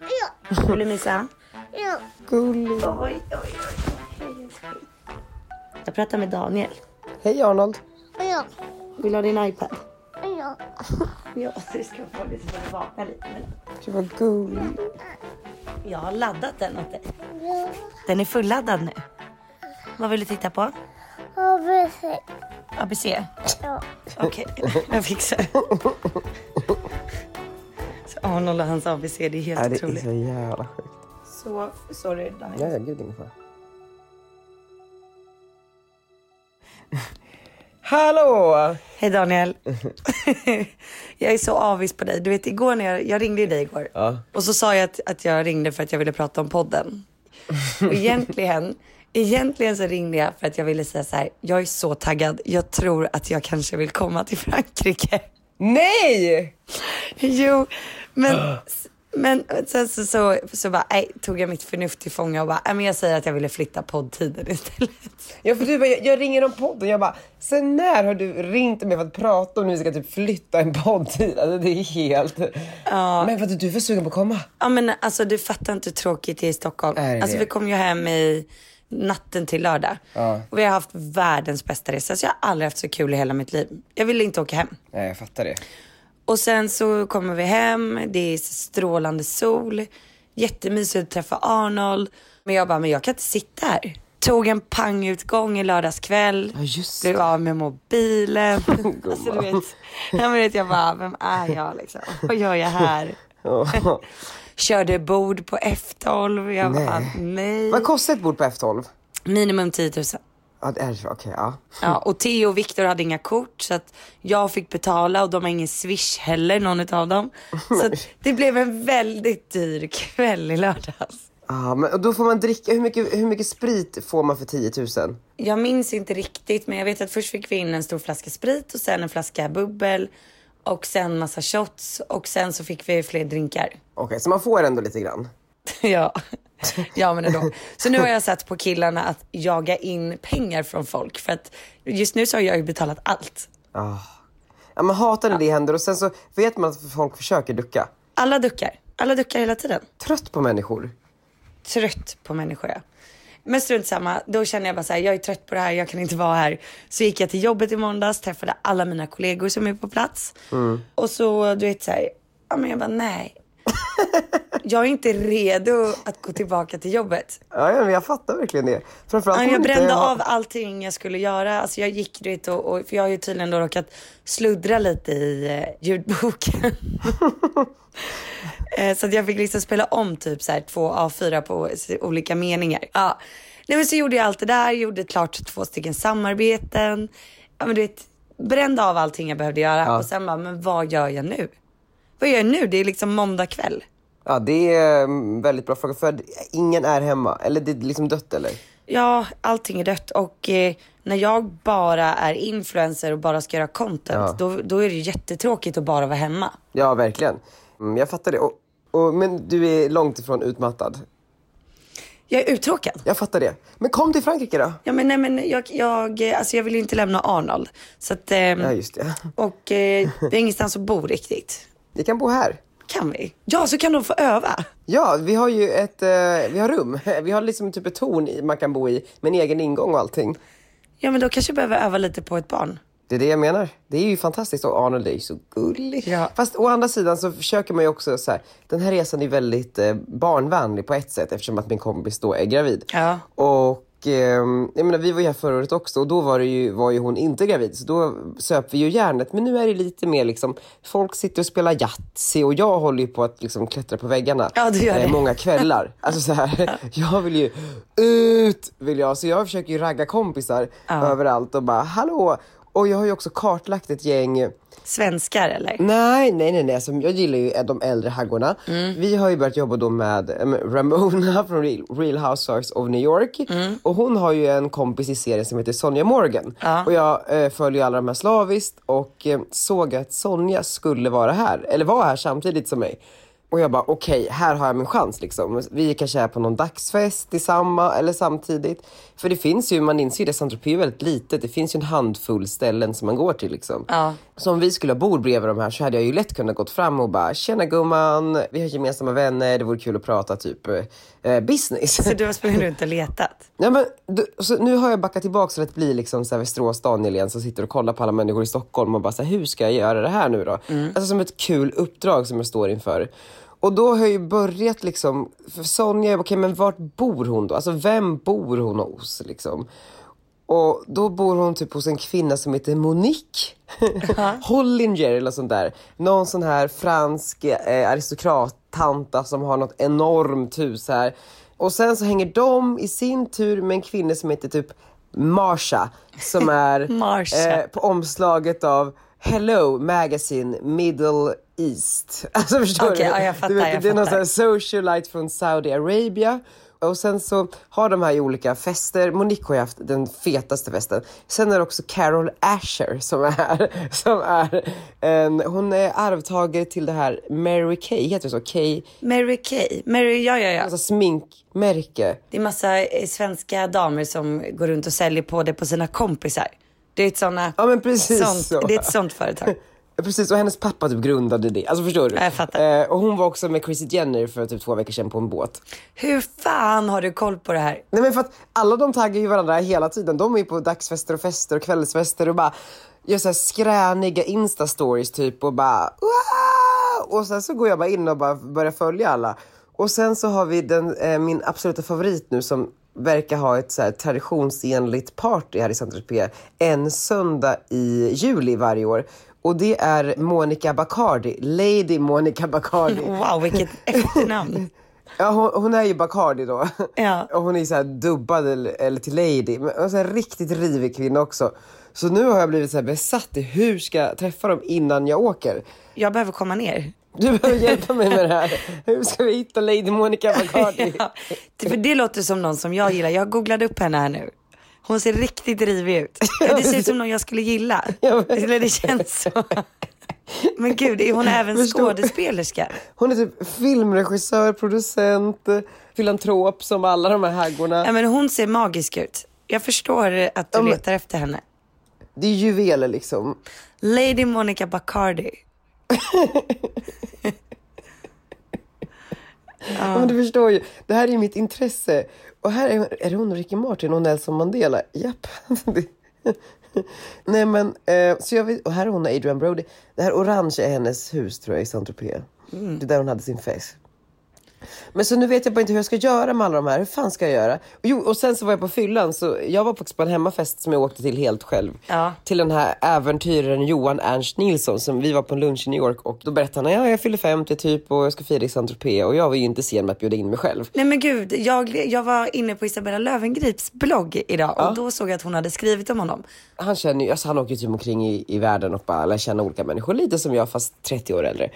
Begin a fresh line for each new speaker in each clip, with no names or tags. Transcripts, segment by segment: Ja.
Vill du mysa?
Ja.
Gullig. Oj, oj, oj. Hej, älskling. Jag pratar med Daniel. Hej Arnold.
Ja.
Vill du ha din iPad?
Ja.
Ja, du ska få det så får du vakna lite. Men
Du var gullig.
jag har laddat den åt dig. Den är fulladdad nu. Vad vill du titta på?
Har vi sett?
ABC?
Ja.
Okej, jag fixar. Så Arnold och hans ABC, det är helt
Nej, det är
otroligt.
så jävla sjukt.
Så, sorry Daniel.
Ja, ja, gud ingen fara. Hallå!
Hej Daniel. jag är så avis på dig. Du vet igår när jag, jag ringde ju dig igår. Och så sa jag att, att jag ringde för att jag ville prata om podden. Och egentligen, egentligen så ringde jag för att jag ville säga så här. Jag är så taggad. Jag tror att jag kanske vill komma till Frankrike.
Nej!
jo, men, men sen så, så, så bara, nej, tog jag mitt förnuft till fånga och bara, nej, men jag säger att jag ville flytta poddtiden istället.
Ja, för du bara, jag, jag ringer om podden. Jag bara, sen när har du ringt mig för att prata om när vi ska typ flytta en poddtid? Alltså det är helt... Men vad du är för sugen på att komma?
Ja men alltså du fattar inte hur tråkigt det är i Stockholm.
Är det
alltså
det?
vi kom ju hem i natten till lördag. Och vi har haft världens bästa resa. Alltså, jag har aldrig haft så kul i hela mitt liv. Jag ville inte åka hem.
Nej, jag fattar det.
Och sen så kommer vi hem, det är strålande sol, jättemysigt att träffa Arnold. Men jag bara, men jag kan inte sitta här. Tog en pangutgång i lördags kväll.
Ja, just
blev av med mobilen. alltså du vet, jag, vet, jag bara, vem är jag liksom? Vad gör jag här?
Ja.
Körde bord på F12. Jag bara,
Nej.
nej.
Vad kostar ett bord på F12?
Minimum 10 000.
Ja, det är det. Okej, ja.
Ja, och Theo och Viktor hade inga kort så att jag fick betala och de har ingen swish heller någon av dem. Så att det blev en väldigt dyr kväll i lördags.
Ah, men och då får man dricka, hur mycket, hur mycket sprit får man för 10 000?
Jag minns inte riktigt men jag vet att först fick vi in en stor flaska sprit och sen en flaska bubbel och sen massa shots och sen så fick vi fler drinkar.
Okej, så man får ändå lite grann.
Ja. ja, men ändå. Så nu har jag satt på killarna att jaga in pengar från folk. För att just nu så har jag ju betalat allt.
Ah. Ja, man hatar när det händer och sen så vet man att folk försöker ducka.
Alla duckar. Alla duckar hela tiden.
Trött på människor.
Trött på människor. ja. Men strunt samma. Då känner jag bara så här, jag är trött på det här, jag kan inte vara här. Så gick jag till jobbet i måndags, träffade alla mina kollegor som är på plats. Och så, du vet så här, ja men jag bara nej. Jag är inte redo att gå tillbaka till jobbet.
Ja, ja, men jag fattar verkligen det. Framförallt
Ja,
om
jag
man inte
brände
har-
av allting jag skulle göra. Alltså jag gick dit och, och för jag har ju tydligen då råkat sluddra lite i eh, ljudboken. Eh, så att jag fick liksom spela om typ så här två A4 på s- olika meningar. Ja. Nej, men så gjorde jag allt det där, gjorde klart två stycken samarbeten. Ja, men du vet, brände av allting jag behövde göra och sen bara, men vad gör jag nu? Vad gör jag nu? Det är liksom måndag kväll.
Ja, det är en väldigt bra fråga. För ingen är hemma. Eller det är liksom dött eller?
Ja, allting är dött och eh, när jag bara är influencer och bara ska göra content, då, då är det ju jättetråkigt att bara vara hemma.
Ja, verkligen. Mm, jag fattar det. Och, och, men du är långt ifrån utmattad.
Jag är uttråkad.
Jag fattar det. Men kom till Frankrike då.
Ja, men nej, men jag, jag, eh, alltså jag vill ju inte lämna Arnold. Så att, ehm,
Ja, just det.
och eh, det är ingenstans att bo riktigt.
Ni kan bo här.
Kan vi? Ja, så kan de få öva.
Ja, vi har ju ett eh, vi har rum. Vi har liksom typ ett torn i- man kan bo i med en egen ingång och allting.
Ja, men då kanske jag behöver öva lite på ett barn.
Det är det jag menar. Det är ju fantastiskt och Arnold är ju så gullig.
Ja.
Fast å andra sidan så försöker man ju också så här, den här resan är väldigt eh, barnvänlig på ett sätt eftersom att min kompis då är gravid.
Ja.
Och ehm, jag menar, vi var ju här förra året också och då var, det ju, var ju hon inte gravid så då söp vi ju järnet. Men nu är det lite mer liksom, folk sitter och spelar Yatzy och jag håller ju på att liksom klättra på väggarna
Ja, du gör det.
Eh, många kvällar. Alltså så här, jag vill ju ut, vill jag. Så jag försöker ju ragga kompisar överallt och bara hallå. Och jag har ju också kartlagt ett gäng
Svenskar eller?
Nej, nej, nej, nej. Alltså, jag gillar ju de äldre haggorna.
Mm.
Vi har ju börjat jobba då med eh, med Ramona från Real, Real Housewives of New York.
Mm.
Och hon har ju en kompis i serien som heter Sonja Morgan.
Ja.
Och jag eh, följer ju alla de här slaviskt och eh, såg att Sonja skulle vara här, eller var här samtidigt som mig. Och jag bara okej, här har jag min chans liksom. Vi kanske är på någon dagsfest tillsammans eller samtidigt. För det finns ju, man inser ju det, Saint-Tropez är ju väldigt litet. Det finns ju en handfull ställen som man går till liksom.
Ja.
Så om vi skulle ha bord bredvid de här så hade jag ju lätt kunnat gått fram och bara “tjena gumman, vi har gemensamma vänner, det vore kul att prata typ eh, business”.
Så du har sprungit runt och letat?
Nej, men, du, så nu har jag backat tillbaka till att bli liksom så här Västerås Daniel igen som sitter och kollar på alla människor i Stockholm och bara så här, hur ska jag göra det här nu då? Alltså som ett kul uppdrag som jag står inför. Och då har jag ju börjat liksom, för Sonja, okej men vart bor hon då? Alltså vem bor hon hos liksom? Och då bor hon typ hos en kvinna som heter Monique Hollinger eller något sånt där. Någon sån här fransk eh, aristokrattanta som har något enormt hus här. Och sen så hänger de i sin tur med en kvinna som heter typ Marsha som är eh,
Marsha.
på omslaget av Hello Magazine Middle East. Alltså förstår
Okej,
du?
ja, jag fattar,
du vet,
jag
det är någon sån
fattar.
här socialite från Saudiarabien. Och sen så har de här ju olika fester. Monique har ju haft den fetaste festen. Sen är det också Carol Asher som är här. Som är en, hon är arvtagare till det här Mary Kay, heter det så? Kay,
Mary Kay? Mary, ja ja ja.
alltså sminkmärke.
Det är massa eh, svenska damer som går runt och säljer på det på sina kompisar. Det är ett såna,
Ja, men precis
sånt,
så.
Det är ett sånt företag.
Precis, och hennes pappa typ grundade det. Alltså förstår du?
Ja, jag fattar.
Eh, och hon var också med Chrissy Jenner för typ två veckor sedan på en båt.
Hur fan har du koll på det här?
Nej men för att alla de taggar ju varandra hela tiden. De är ju på dagsfester och fester och kvällsfester och bara gör såhär skräniga instastories typ och bara "Wow!" Och sen så går jag bara in och bara börjar följa alla. Och sen så har vi den, eh, min absoluta favorit nu som verkar ha ett så här traditionsenligt party här i Saint-Tropez en söndag i juli varje år. Och det är Monica Bacardi, Lady Monica Bacardi.
Wow, vilket efternamn.
Ja, hon, hon är ju Bacardi då.
Ja.
Och hon är så här dubbad eller, eller till lady. Men och så här riktigt rivig kvinna också. Så nu har jag blivit så här besatt i hur ska jag träffa dem innan jag åker.
Jag behöver komma ner.
Du behöver hjälpa mig med det här. Hur ska vi hitta Lady Monica Bacardi?
Ja, för det låter som någon som jag gillar. Jag googlade upp henne här nu. Hon ser riktigt rivig ut. Det ser ut som någon jag skulle gilla.
Ja, men-
Eller det känns så. Men gud, är hon även
Förstår-
skådespelerska?
Hon är typ filmregissör, producent, filantrop som alla de här haggorna.
Nej, men hon ser magisk ut. Jag förstår att du
Ja, men-
letar efter henne.
Det är juveler liksom.
Lady Monica Bacardi.
Ja, men du förstår ju. Det här är ju mitt intresse. Och här är, är det hon och Ricky Martin och Nelson Mandela. Japp. Det- Nej men, eh, så jag vet, och här är hon och Adrian Brody. Det här orange är hennes hus tror jag i Saint-Tropez. Det är där hon hade sin fest. Men så nu vet jag bara inte hur jag ska göra med alla de här. Hur fan ska jag göra? Och, jo, och sen så var jag på fyllan. Så jag var faktiskt på en hemmafest som jag åkte till helt själv.
Ja.
Till den här äventyraren Johan Ernst Nilsson. Som vi var på en lunch i New York och då berättade han ja, jag fyller 50 typ och jag ska fira i Saint-Tropez. Och jag var ju inte sen med att bjuda in mig själv.
Nej men gud, jag, jag var inne på Isabella Lövengrips blogg idag och då såg jag att hon hade skrivit om honom.
Han, känner, ju- alltså han åker ju typ omkring i, i världen och bara lär känna olika människor. Lite som jag fast 30 år äldre.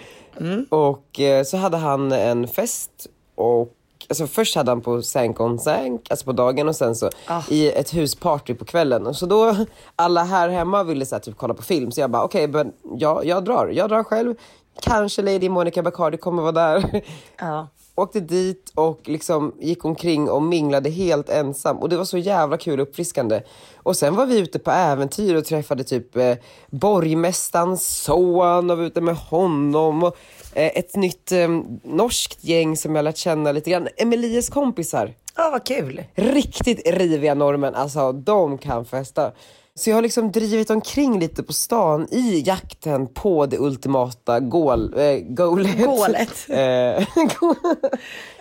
Och eh, så hade han en fest och Alltså först hade han på Sank on Sank, alltså på dagen och sen så i ett husparty på kvällen. Och Så då, alla här hemma ville så här, typ kolla på film så jag bara okej, men jag, jag drar. Jag drar själv. Kanske Lady Monica Bacardi kommer vara där.
Ja.
Åkte dit och liksom gick omkring och minglade helt ensam. Och det var så jävla kul och uppfriskande. Och sen var vi ute på äventyr och träffade typ eh, borgmästarens son och var ute med honom. Och, eh, ett nytt eh, norskt gäng som jag lärt känna lite grann. Emilies kompisar.
Ja, vad kul.
Riktigt riviga norrmän, alltså de kan festa. Så jag har liksom drivit omkring lite på stan i jakten på det ultimata goal, eh, goalet.
Gålet.
Eh,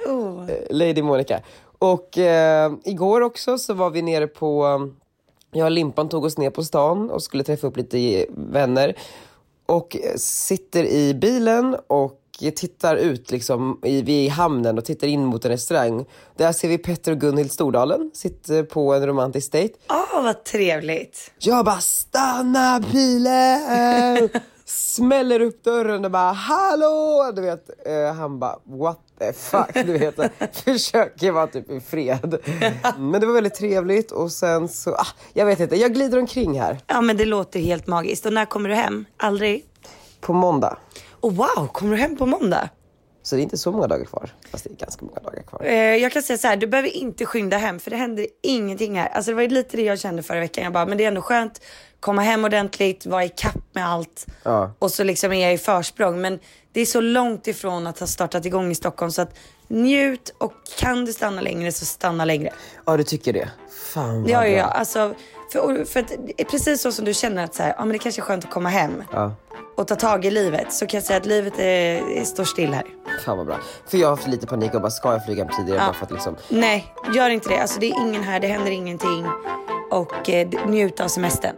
Oh.
Lady Monica. Och eh, igår också så var vi nere på, jag och Limpan tog oss ner på stan och skulle träffa upp lite vänner. Och eh, sitter i bilen och tittar ut liksom, i, vi är i hamnen och tittar in mot en restaurang. Där ser vi Petter och Gunhild Stordalen sitter på en romantisk dejt.
Åh, vad trevligt.
Jag bara stanna bilen! Smäller upp dörren och bara hallå! Du vet, eh, han bara what the fuck? Du vet, försöker vara typ i fred. Men det var väldigt trevligt och sen så, ah, jag vet inte, jag glider omkring här
Ja, men det låter helt magiskt. Och när kommer du hem? Aldrig?
på måndag.
Och wow, kommer du hem på måndag?
Så det är inte så många dagar kvar, fast det är ganska många dagar kvar.
Eh, jag kan säga så här, du behöver inte skynda hem för det händer ingenting här. Alltså det var ju lite det jag kände förra veckan. Jag bara, men det är ändå skönt. Komma hem ordentligt, vara i kapp med allt.
Ja.
Och så liksom är jag i försprång. Men det är så långt ifrån att ha startat igång i Stockholm så att njut och kan du stanna längre så stanna längre.
Ja, du tycker det? Fan vad
Ja, ja,
bra.
ja. Alltså, för, för att, det är precis så som du känner att så här, ja, men det kanske är skönt att komma hem
Ja.
och ta tag i livet så kan jag säga att livet är, står still här.
Fan vad bra. För jag har haft lite panik och bara, ska jag flyga tidigare? Bara för att liksom,
Nej, gör inte det. Alltså, det är ingen här, det händer ingenting. Och eh, njut av semestern.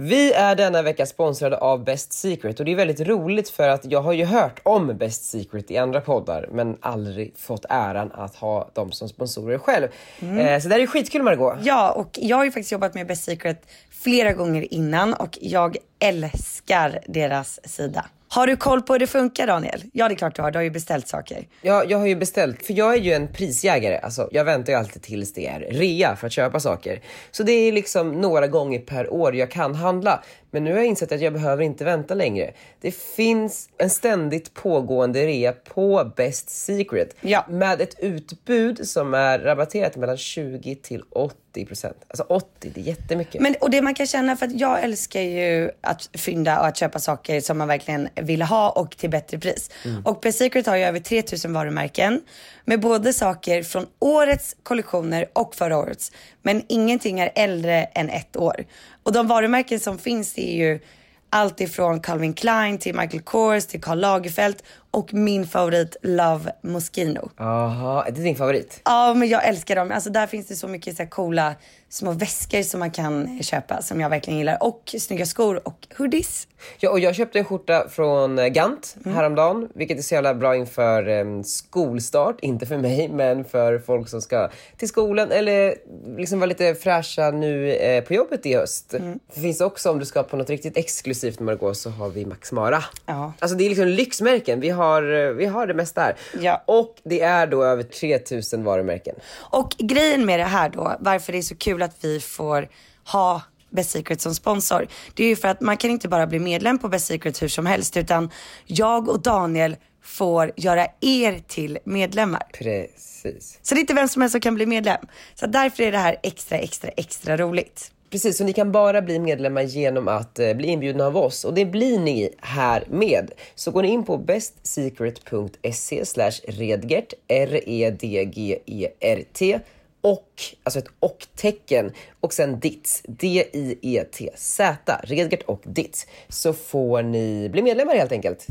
Vi är denna vecka sponsrade av Best Secret och det är väldigt roligt för att jag har ju hört om Best Secret i andra poddar men aldrig fått äran att ha dem som sponsorer själv. Eh, så det här är skitkul Margot.
Ja, och jag har ju faktiskt jobbat med Best Secret flera gånger innan och jag älskar deras sida. Har du koll på hur det funkar Daniel? Ja, det är klart du har. Du har ju beställt saker.
Jag, jag har ju beställt, för jag är ju en prisjägare, alltså jag väntar ju alltid tills det är rea för att köpa saker. Så det är liksom några gånger per år jag kan handla. Men nu har jag insett att jag behöver inte vänta längre. Det finns en ständigt pågående rea på Best Secret.
Ja.
med ett utbud som är rabatterat mellan 20 till 80 procent. Alltså 80, det är jättemycket.
Men, och det man kan känna, för att jag älskar ju att fynda och att köpa saker som man verkligen vill ha och till bättre pris. Och Best Secret har ju över 3000 varumärken med både saker från årets kollektioner och förra årets. Men ingenting är äldre än ett år. Och de varumärken som finns det är ju allt ifrån Calvin Klein till Michael Kors till Karl Lagerfeld och min favorit Love Moschino.
Aha, det är din favorit.
Ja, men jag älskar dem. Alltså, där finns det så mycket så här, coola små väskor som man kan eh, köpa som jag verkligen gillar. Och snygga skor och hoodies.
Ja, och jag köpte en skjorta från eh, Gant häromdagen, vilket är så jävla bra inför eh, skolstart. Inte för mig, men för folk som ska till skolan eller liksom vara lite fräscha nu eh, på jobbet i höst.
Mm.
Det finns också om du ska på något riktigt exklusivt Margot så har vi Max Mara.
Ja.
Alltså det är liksom lyxmärken. Vi har, eh, vi har det mesta här.
Ja.
Och det är då över 3000 varumärken.
Och grejen med det här då, varför det är så kul att vi får ha Best Secret som sponsor. Det är ju för att man kan inte bara bli medlem på Best Secret hur som helst utan jag och Daniel får göra er till medlemmar.
Precis.
Så det är inte vem som helst som kan bli medlem. Så därför är det här extra, extra, extra roligt.
Precis, så ni kan bara bli medlemmar genom att eh, bli inbjudna av oss och det blir ni här med. Så går ni in på bestsecret.se slash redgert, E R-E-D-G-E-R-T och, alltså ett och-tecken och sen dits, D-I-E-T-Z, redgert och dits. Så får ni bli medlemmar helt enkelt.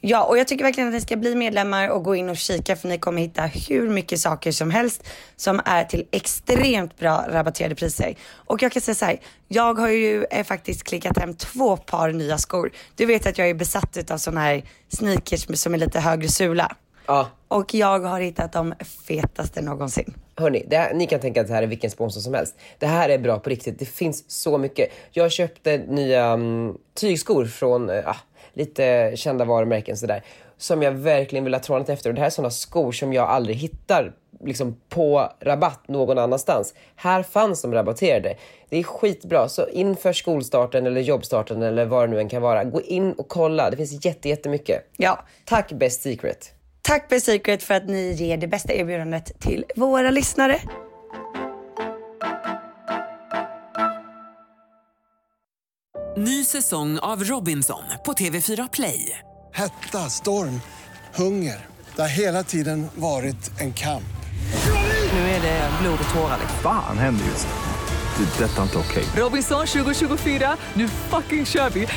Ja, och jag tycker verkligen att ni ska bli medlemmar och gå in och kika för ni kommer hitta hur mycket saker som helst som är till extremt bra rabatterade priser. Och jag kan säga så här, jag har ju eh, faktiskt klickat hem två par nya skor. Du vet att jag är besatt av sådana här sneakers som är lite högre sula.
Ja,
Och jag har hittat de fetaste någonsin.
Hörni, det här, ni kan tänka att det här är vilken sponsor som helst. Det här är bra på riktigt. Det finns så mycket. Jag köpte nya mm, tygskor från eh, ah, lite kända varumärken sådär. Som jag verkligen vill ha trånat efter. Och det här är sådana skor som jag aldrig hittar liksom, på rabatt någon annanstans. Här fanns de rabatterade. Det är skitbra. Så inför skolstarten eller jobbstarten eller vad det nu än kan vara. Gå in och kolla. Det finns jätte, jättemycket.
Ja,
Tack Best Secret.
tack Best Secret för att ni ger det bästa erbjudandet till våra lyssnare.
Ny säsong av Robinson på TV4 Play.
Hetta, storm, hunger. Det har hela tiden varit en kamp.
Nu är det blod och tårar.
Fan händer just nu. Det. är Detta är inte okej.
Robinson 2024, nu fucking kör vi!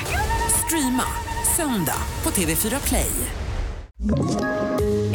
Streama söndag på TV4 Play.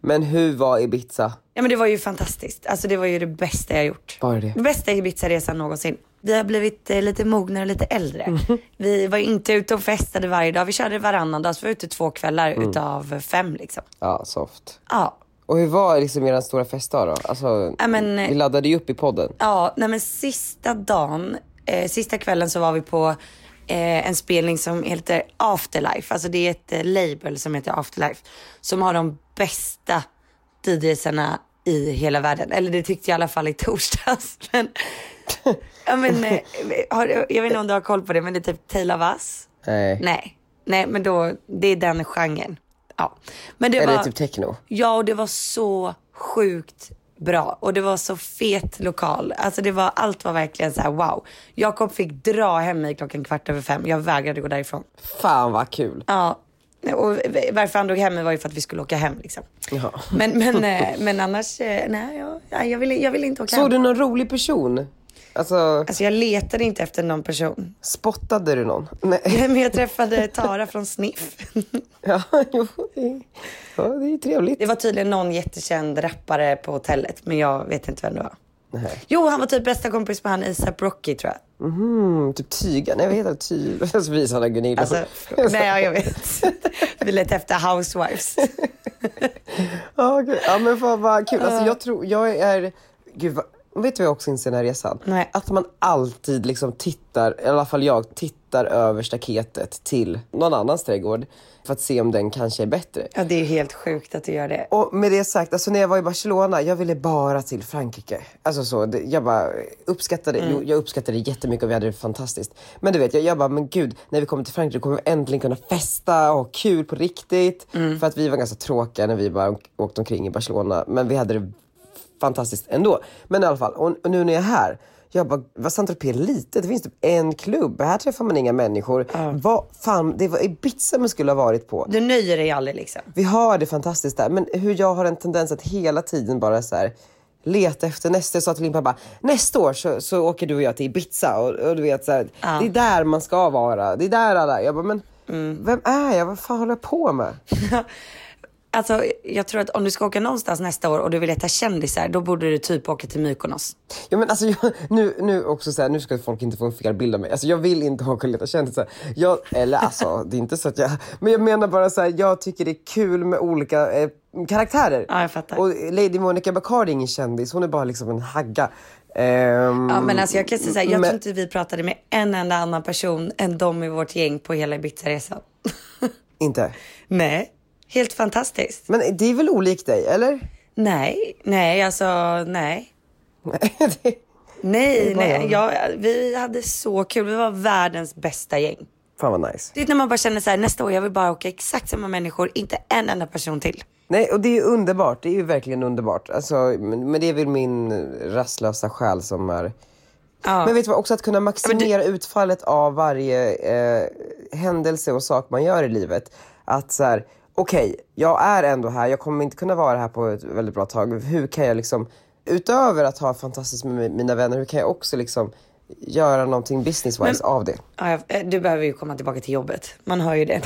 Men hur var Ibiza?
Ja men det var ju fantastiskt. Alltså det var ju det bästa jag gjort.
Var det det?
Den bästa Ibiza-resan någonsin. Vi har blivit eh, lite mognare och lite äldre. Vi var inte ute och festade varje dag. Vi körde varannan dag, så vi var ute två kvällar utav fem liksom.
Ja, soft.
Ja.
Och hur var liksom er stora festdag då? Alltså,
Ja, men, eh,
vi laddade ju upp i podden.
Ja, nej men sista dagen, eh, sista kvällen så var vi på eh, en spelning som heter Afterlife. Alltså det är ett eh, label som heter Afterlife. Som har de bästa DJsarna i hela världen. Eller det tyckte jag i alla fall i torsdags. Men, ja, men, eh, har, jag vet inte om du har koll på det, men det är typ Taylor Vass.
Nej.
Nej, nej men då, det är den genren. Ja. Men det
Eller
var,
typ techno.
Ja, och det var så sjukt bra och det var så fet lokal. Alltså det var, allt var verkligen så här wow. Jakob fick dra hem mig klockan kvart över fem. Jag vägrade gå därifrån.
Fan vad kul.
Ja, och varför han drog hem mig var ju för att vi skulle åka hem liksom. Men, men, eh, men annars, eh, nej jag, nej, jag, ville, jag ville inte åka
Såg
hem.
du någon rolig person? Alltså,
Alltså jag letade inte efter någon person.
spottade du någon? Nej.
Men jag träffade Tara från Sniff.
Ja, jo, det, ja, det är ju trevligt.
Det var tydligen någon jättekänd rappare på hotellet, men jag vet inte vem det var.
Nej.
Jo, han var typ bästa kompis med han ASAP Rocky tror jag.
Mm, typ tyga. Nej, vad heter det? Tyg. Så visar han Gunilla.
Alltså, nej, ja, jag vet. Vi lät efter housewives.
Ja, okej. Ja men fan vad kul. Alltså jag tror, jag är, gud vad, vet du vad jag också inser den här resan?
Nej.
Att man alltid liksom tittar, i alla fall jag, tittar över staketet till någon annans trädgård för att se om den kanske är bättre.
Ja, det är helt sjukt att du gör det.
Och med det sagt, alltså när jag var i Barcelona, jag ville bara till Frankrike. Alltså så, det- jag bara uppskattade, jo, jag uppskattade det jättemycket och vi hade det fantastiskt. Men du vet, jag, jag bara, men gud, när vi kommer till Frankrike kommer vi äntligen kunna festa och ha kul på riktigt. För att vi var ganska tråkiga när vi bara åkte omkring i Barcelona, men vi hade det fantastiskt ändå. Men i alla fall, och, och nu när jag är här, jag bara, vad Saint är litet, det finns typ en klubb, här träffar man inga människor. Vad fan, det var Ibiza man skulle ha varit på.
Du nöjer dig aldrig liksom.
Vi har det fantastiskt där, men hur jag har en tendens att hela tiden bara så här leta efter nästa. Jag sa till min pappa, nästa år så, så åker du och jag till Ibiza och, och du vet så här, det är där man ska vara. Det är där alla, jag bara, men vem är jag? Vad fan håller jag på med?
Alltså, jag tror att om du ska åka någonstans nästa år och du vill leta kändisar, då borde du typ åka till Mykonos.
Ja, men alltså, jag, nu, nu också så här, nu ska folk inte få en fel bild av mig. Alltså, jag vill inte ha Coleta kändisar. Jag, eller alltså, det är inte så att jag... Men jag menar bara så här, jag tycker det är kul med olika eh, karaktärer.
Ja, jag fattar.
Och Lady Monica Bacardi är ingen kändis, hon är bara liksom en hagga. Ehm,
Ja, men alltså jag kan säga så här, jag
men-
tror inte vi pratade med en enda annan person än de i vårt gäng på hela Ibiza-resan.
Inte.
nej, helt fantastiskt.
Men det är väl olikt dig, eller?
Nej, nej, alltså nej. Nej,
bara
nej. Jag, vi hade så kul. Vi var världens bästa gäng.
Fan vad nice.
Det är när man bara känner så här, nästa år jag vill bara åka exakt samma människor, inte en enda person till.
Nej, och det är ju underbart. Det är ju verkligen underbart. Alltså, men men det är väl min rastlösa själ som är... Men vet du vad, också att kunna maximera utfallet av varje eh, händelse och sak man gör i livet. Att så här, okej, jag är ändå här, jag kommer inte kunna vara här på ett väldigt bra tag. Hur kan jag liksom, utöver att ha fantastiskt med mi- mina vänner, hur kan jag också liksom göra någonting business-wise av det?
Ja, jag- eh, Du behöver ju komma tillbaka till jobbet. Man hör ju det.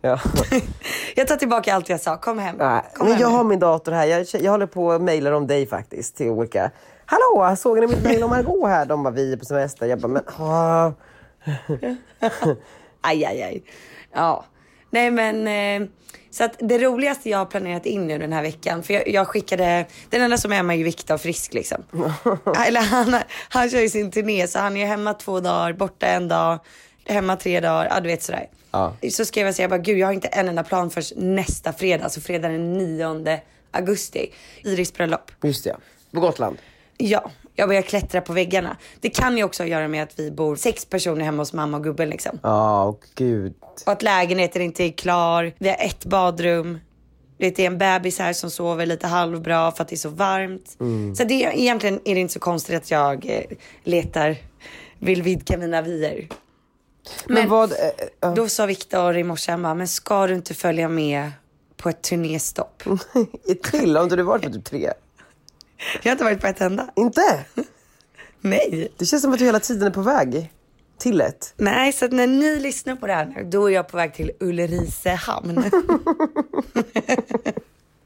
Ja.
Jag tar tillbaka allt jag sa. Kom hem.
Nej,
Kom
men
hem.
jag har min dator här. Jag, jag håller på och mejlar om dig faktiskt till olika. Hallå, såg ni mitt mejl om Margot här? De bara, vi är på semester. Jag bara, men ah.
Aj, aj, aj. Ja. Nej, men eh, så att det roligaste jag har planerat in nu den här veckan, för jag, jag skickade, den enda som är hemma är ju Viktor Frisk liksom. Eller han, han kör ju sin turné, så han är hemma två dagar, borta en dag, hemma tre dagar, ja du vet sådär.
Ja.
Så skrev jag så jag bara, gud jag har inte en enda plan förrän nästa fredag, så fredag den 9 augusti. Iris bröllop.
Just det, ja. På Gotland.
Ja, jag börjar klättra på väggarna. Det kan ju också ha att göra med att vi bor sex personer hemma hos mamma och gubben liksom.
Ja, gud.
Och att lägenheten inte är klar. Vi har ett badrum. Det är en bebis här som sover lite halvbra för att det är så varmt. Så det är, egentligen är det inte så konstigt att jag eh, letar, vill vidga mina vyer.
Men,
Men-
vad... eh, eh,
Då sa Viktor i morse, han bara, men ska du inte följa med på ett turnéstopp?
eh, till? Har inte du varit på typ tre?
Jag har inte varit på ett enda.
Inte?
Nej.
Det känns som att du hela tiden är på väg till ett.
Nej, så att när ni lyssnar på det här nu, då är jag på väg till Ulricehamn.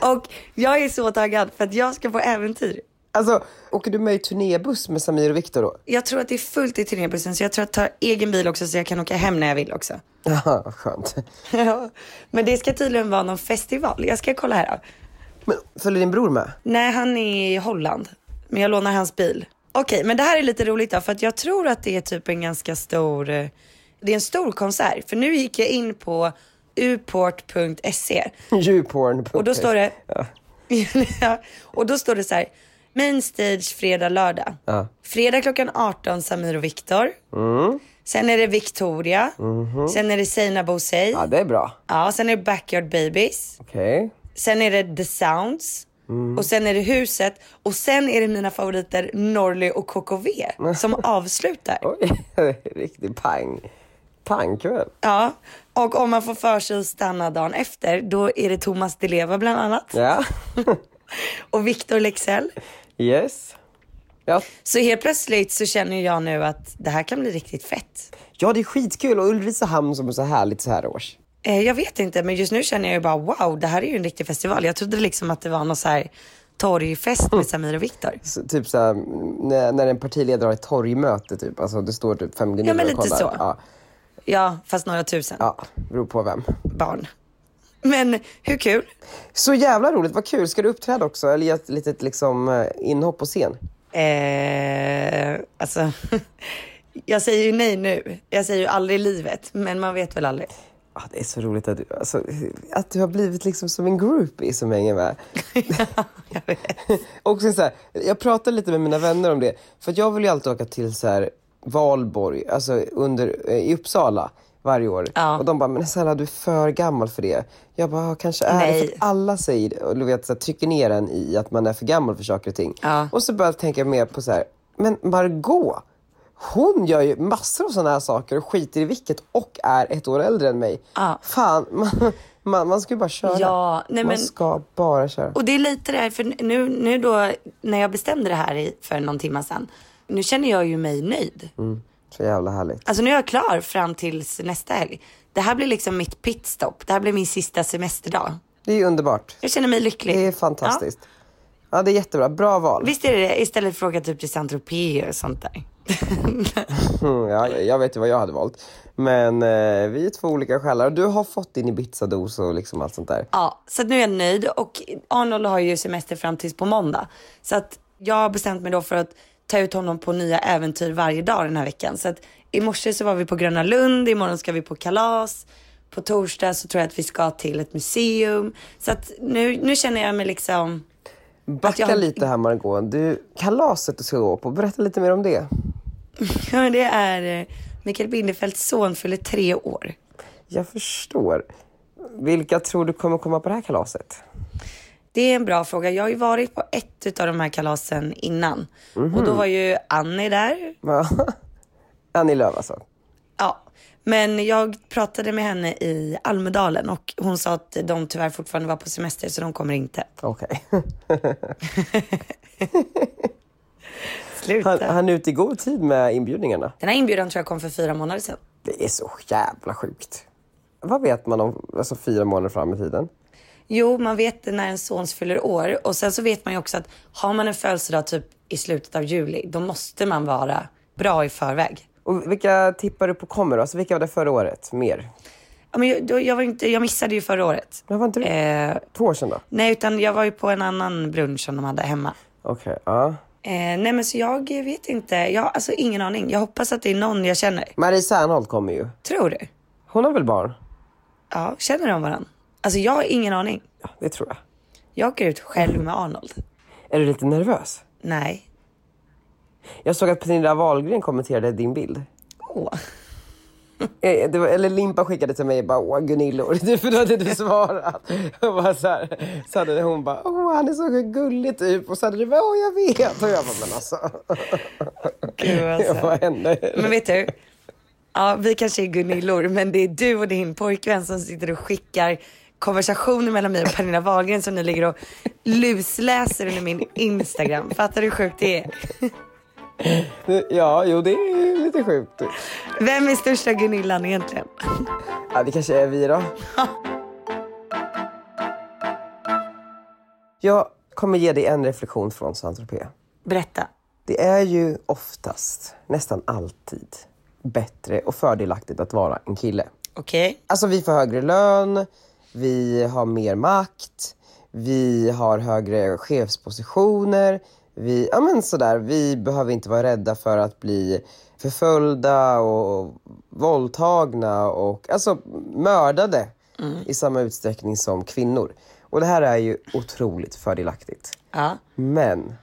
och jag är så taggad för att jag ska på äventyr.
Alltså, åker du med i turnébuss med Samir och Viktor då?
Jag tror att det är fullt i turnébussen så jag tror att jag tar egen bil också så jag kan åka hem när jag vill också.
Jaha, skönt.
Ja, Men det ska tydligen vara någon festival. Jag ska kolla här.
Men följer din bror med?
Nej, han är i Holland. Men jag lånar hans bil. Okej, men det här är lite roligt då, för att jag tror att det är typ en ganska stor, eh, det är en stor konsert. För nu gick jag in på uport.se
Djuporn.
och då står det, ja. och då står det så här, main stage fredag, lördag. Fredag klockan 18, Samir och Viktor.
Mm.
Sen är det Victoria, sen är det Seinabo Sey,
Mhm. Ja, det är bra.
ja, sen är det Backyard Babies.
Okej.
Sen är det The Sounds.
Mm.
Och sen är det huset och sen är det mina favoriter Norli och KKV som avslutar.
Oj, riktig pang. Pangkväll.
Ja. Och om man får för sig att stanna dagen efter då är det Thomas Di Leva bland annat
Ja,
och Victor Lexell.
yes. Ja.
Så helt plötsligt så känner jag nu att det här kan bli riktigt fett.
ja, det är skitkul och Ulricehamn som är så härligt så här års.
Eh, jag vet inte men just nu känner jag ju bara wow det här är ju en riktig festival. Jag trodde liksom att det var någon så här torgfest med Samir och Viktor.
Så, typ så här, när, när en partiledare har ett torgmöte typ, alltså det står typ fem gunillor
men
och
lite
kollar.
så.
Ja,
Ja fast några tusen
ja, beror på vem.
barn. Men hur kul?
Så jävla roligt, vad kul. Ska du uppträda också eller göra ett litet liksom, eh, inhopp på scen?
Eh, alltså, jag säger ju nej nu. Jag säger ju aldrig i livet, men man vet väl aldrig.
Ah, det är så roligt att du, alltså, att du har blivit liksom som en groupie som hänger med.
Jag vet.
Och sen så här, jag pratar lite med mina vänner om det. För att jag vill ju alltid åka till så här, Valborg, alltså under, eh, i Uppsala varje år.
Ja.
Och de bara, men snälla du är för gammal för det. Jag bara, "Ja, kanske är det.
Nej.
För att alla säger det. och du vet, så här, trycker ner en i att man är för gammal för saker och ting.
Ja.
Och så börjar jag tänka mer på så här, men Margot hon gör ju massor av sådana här saker och skiter i vilket och är ett år äldre än mig.
Ja.
Fan, man, man, man ska ju bara köra.
Ja, nej
man
men-
ska bara köra.
Och det är lite det här, för nu, nu då när jag bestämde det här i, för någon timme sedan, nu känner jag ju mig nöjd.
Så jävla härligt.
Alltså nu är jag klar fram tills nästa helg. Det här blir liksom mitt pitstop. Det här blir min sista semesterdag.
Det är underbart.
Jag känner mig lycklig.
Det är fantastiskt. Ja, det är jättebra. Bra
Ja.
val.
Visst är det det? Istället för att åka typ till Saint-Tropez och sånt där.
Mm, ja, jag vet ju vad jag hade valt. Men eh, vi är två olika själar. Du har fått din Ibiza-dos och liksom allt sånt där.
Ja, så att nu är jag nöjd och Arnold har ju semester fram tills på måndag. Så att jag har bestämt mig då för att ta ut honom på nya äventyr varje dag den här veckan. Så att i morse så var vi på Gröna Lund, imorgon ska vi på kalas. På torsdag så tror jag att vi ska till ett museum. Så att nu, nu känner jag mig liksom, att
Backa
jag har-
lite här Margot. Du, kalaset du ska gå på, berätta lite mer om det.
Ja, men det är eh, Mikael Bindefelds son fyller tre år.
Jag förstår. Vilka tror du kommer komma på det här kalaset?
Det är en bra fråga. Jag har ju varit på ett av de här kalasen innan. Och då var ju Annie där,
Va? Annie Lööf alltså.
Ja, men jag pratade med henne i Almedalen och hon sa att de tyvärr fortfarande var på semester så de kommer inte.
Okej. Han,
Sluta.
han är ute i god tid med inbjudningarna.
Den här inbjudan tror jag kom för fyra månader sedan.
Det är så jävla sjukt. Vad vet man om alltså, fyra månader fram i tiden?
Jo, man vet det när en sons fyller år och sen så vet man ju också att har man en födelsedag typ i slutet av juli, då måste man vara bra i förväg.
Och vilka tippar du på kommer då? Alltså, vilka var det förra året? Mer?
Ja, men jag, då, jag, var ju inte, jag missade ju förra året.
Men var inte du
Eh,
två år sedan då?
nej, utan jag var ju på en annan brunch som de hade hemma.
Okej, ja.
Eh, nej, men så jag vet inte. Jag har alltså ingen aning. Jag hoppas att det är någon jag känner.
Marie Serneholt kommer ju.
Tror du?
Hon har väl barn?
Ja, känner de varandra? Alltså jag har ingen aning.
Ja, det tror jag.
Jag åker ut själv med Arnold.
Är du lite nervös?
Nej.
Jag såg att Pernilla Wahlgren kommenterade din bild.
Åh.
Eh, Det var, eller Limpa skickade till mig och bara åh Gunillor, Det är för då hade du svarat. Och bara så, här, så hade hon bara åh han är så gullig typ och så hade du bara åh jag vet och jag bara men alltså
Gud,
vad
alltså.
händer?
Men vet du? Ja, vi kanske är Gunillor, men det är du och din pojkvän som sitter och skickar konversationer mellan mig och Pernilla Wahlgren som ni ligger och lusläser under min Instagram. Fattar du hur sjukt det är?
Ja, jo det är lite sjukt.
Vem är största Gunillan egentligen?
Ja, det kanske är vi då. Jag kommer ge dig en reflektion från Saint-Tropez.
Berätta.
Det är ju oftast, nästan alltid, bättre och fördelaktigt att vara en kille.
Okej.
Alltså vi får högre lön, vi har mer makt, vi har högre chefspositioner. Vi, ja men sådär, vi behöver inte vara rädda för att bli förföljda och våldtagna och alltså mördade i samma utsträckning som kvinnor. Och det här är ju otroligt fördelaktigt.
Ja.
Men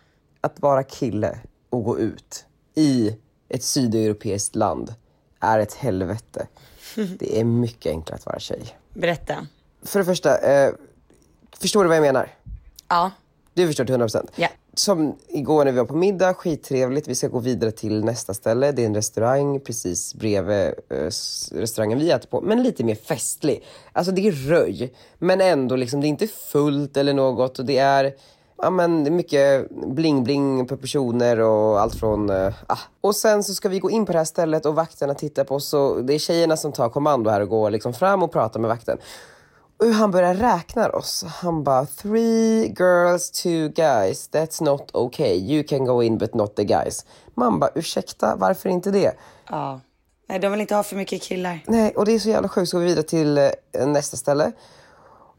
att vara kille och gå ut i ett sydeuropeiskt land är ett helvete. Det är mycket enklare att vara tjej.
Berätta.
För det första, eh, förstår du vad jag menar?
Ja.
Du förstår till 100 procent.
Ja.
Som igår när vi var på middag, skittrevligt. Vi ska gå vidare till nästa ställe. Det är en restaurang precis bredvid eh, s- restaurangen vi äter på, men lite mer festlig. Alltså det är röj, men ändå liksom, det är inte fullt eller något och det är Ja men det är mycket bling-bling på personer och allt från... eh, ah. Och sen så ska vi gå in på det här stället och vakterna tittar på oss och det är tjejerna som tar kommando här och går liksom fram och pratar med vakten. Och han börjar räkna oss. Han bara, three girls, two guys. That's not okay. You can go in but not the guys. Man bara, ursäkta, varför inte det?
ja. Nej, de vill inte ha för mycket killar.
Nej, och det är så jävla sjukt. Så går vi vidare till eh, nästa ställe.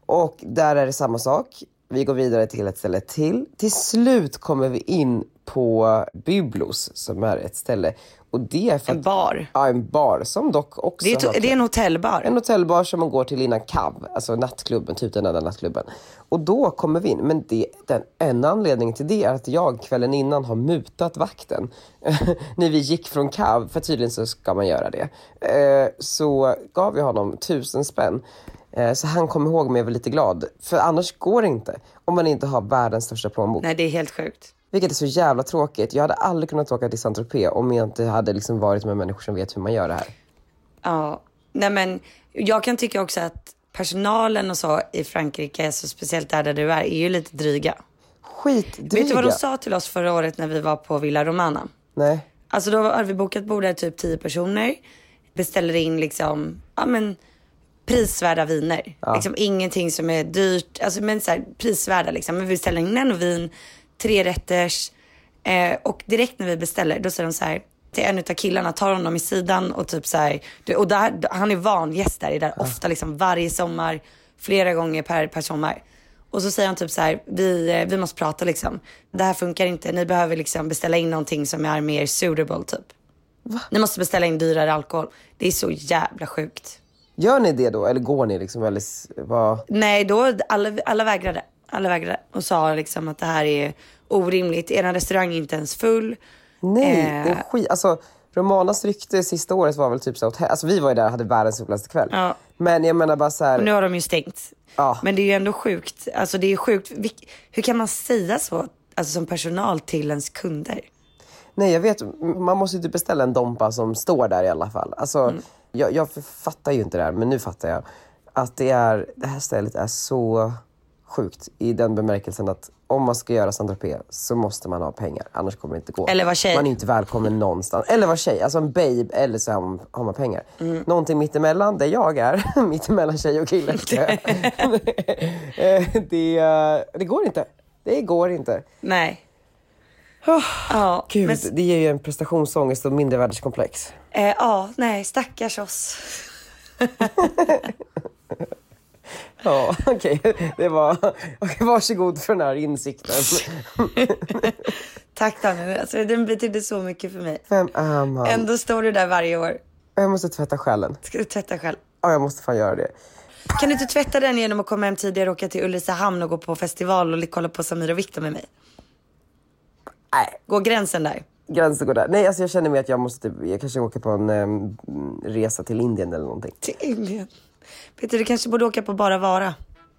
Och där är det samma sak. Vi går vidare till ett ställe till. Till slut kommer vi in på Byblos som är ett ställe. Och det är för
En
att-
bar.
Ja, en bar som dock också...
Det är, to-
har-
det är en hotellbar.
en hotellbar som man går till innan KAV, alltså nattklubben, typ den enda nattklubben. Och då kommer vi in. Men det, den, en anledning till det är att jag kvällen innan har mutat vakten. När vi gick från KAV, för tydligen så ska man göra det. Eh, så gav jag honom tusen spänn. Eh, så han kom ihåg mig och var lite glad. För annars går det inte. Om man inte har världens största plånbok.
Nej, det är helt sjukt.
Vilket är så jävla tråkigt. Jag hade aldrig kunnat åka till Saint-Tropez om jag inte hade liksom varit med människor som vet hur man gör det här.
Ja, nej men jag kan tycka också att personalen och så i Frankrike, så speciellt där, där du är, är ju lite dryga.
Skitdryga.
Vet du vad de sa till oss förra året när vi var på Villa Romana?
Nej.
Alltså då hade vi bokat bord där typ 10 personer. Beställde in liksom, ja men prisvärda viner. Liksom ingenting som är dyrt, alltså men så här, prisvärda liksom. Men vi beställer in en vin, tre rätters. Eh, och direkt när vi beställer då säger de så här till en utav killarna, tar honom i sidan och typ så här, du- och där, han är van gäst där, är där ofta liksom varje sommar, flera gånger per, per sommar. Och så säger han typ så här, vi, eh, vi måste prata liksom. Det här funkar inte, ni behöver liksom beställa in någonting som är mer suitable typ. Ni måste beställa in dyrare alkohol. Det är så jävla sjukt.
Gör ni det då? Eller går ni liksom? Eller s- vad?
Nej, då alla, alla vägrade. Alla vägrade och sa liksom att det här är orimligt. Eran restaurang är inte ens full.
Nej,
Eh.
det är skit. Alltså, Romanas rykte sista året var väl typ så här, hotell- alltså vi var ju där och hade världens roligaste kväll.
Ja.
Men jag menar bara så här,
Och nu har de ju stängt.
Ja.
Men det är ju ändå sjukt. Alltså det är sjukt. Vilk, hur kan man säga så alltså, som personal till ens kunder?
nej jag vet, m- man måste ju typ beställa en Dompa som står där i alla fall. Alltså,
Mm.
jag, jag fattar ju inte det här, men nu fattar jag. Att det, är, det här stället är så sjukt i den bemärkelsen att om man ska göra Saint-Tropez så måste man ha pengar, annars kommer det inte gå.
Eller vara tjej.
Man är ju inte välkommen någonstans. Eller vara tjej, alltså en babe eller så har man, har man pengar.
Mm.
Någonting mittemellan, där jag är, mittemellan tjej och kille. tror jag. Eh, det, eh, det går inte. Det går inte.
Nej. ja,
Gud,
men,
det ger ju en prestationsångest och mindervärdeskomplex.
eh, ja, nej, stackars oss.
Ja, okej. Det var... okej, varsågod för den här insikten.
Tack Danne, alltså, den betydde så mycket för mig.
Vem är man?
Ändå står du där varje år.
Jag måste tvätta själen.
Ska du tvätta själv?
Ja, jag måste fan göra det.
Kan du inte tvätta den genom att komma hem tidigare och åka till Ulricehamn och gå på festival och li- kolla på Samir och Viktor med mig?
Nej,
Gå gränsen där.
gränsen går där. Nej, alltså jag känner mig att jag måste typ, jag kanske åker på en em, resa till Indien eller någonting.
Till Indien. Peter, du kanske borde åka på Bara Vara.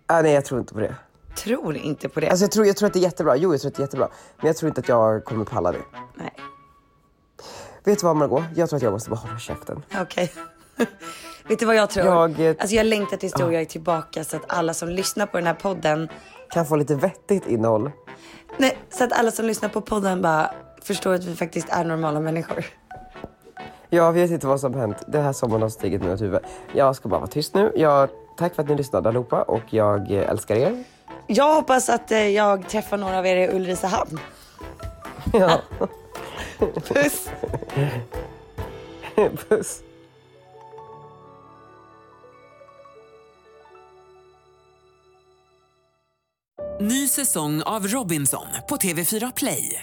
Ah, nej, jag tror inte på det.
Tror inte på det.
Alltså jag tror, jag tror att det är jättebra. Jo, jag tror att det är jättebra. Men jag tror inte att jag kommer palla det.
Nej.
Vet du vad Margot? Jag tror att jag måste bara hålla käften.
Okej. Vet du vad jag tror?
Jag, eh,
Alltså jag längtar tills du och jag är tillbaka så att alla som lyssnar på den här podden,
Kan få lite vettigt innehåll.
nej, så att alla som lyssnar på podden bara förstår att vi faktiskt är normala människor.
Jag vet inte vad som hänt. Det här sommaren har stigit mig åt huvudet. Jag ska bara vara tyst nu. Jag, tack för att ni lyssnade allihopa och jag eh, älskar er.
Jag hoppas att eh, jag träffar några av er i Ulricehamn.
Ja,
Puss!
puss.
Ny säsong av Robinson på TV4 Play.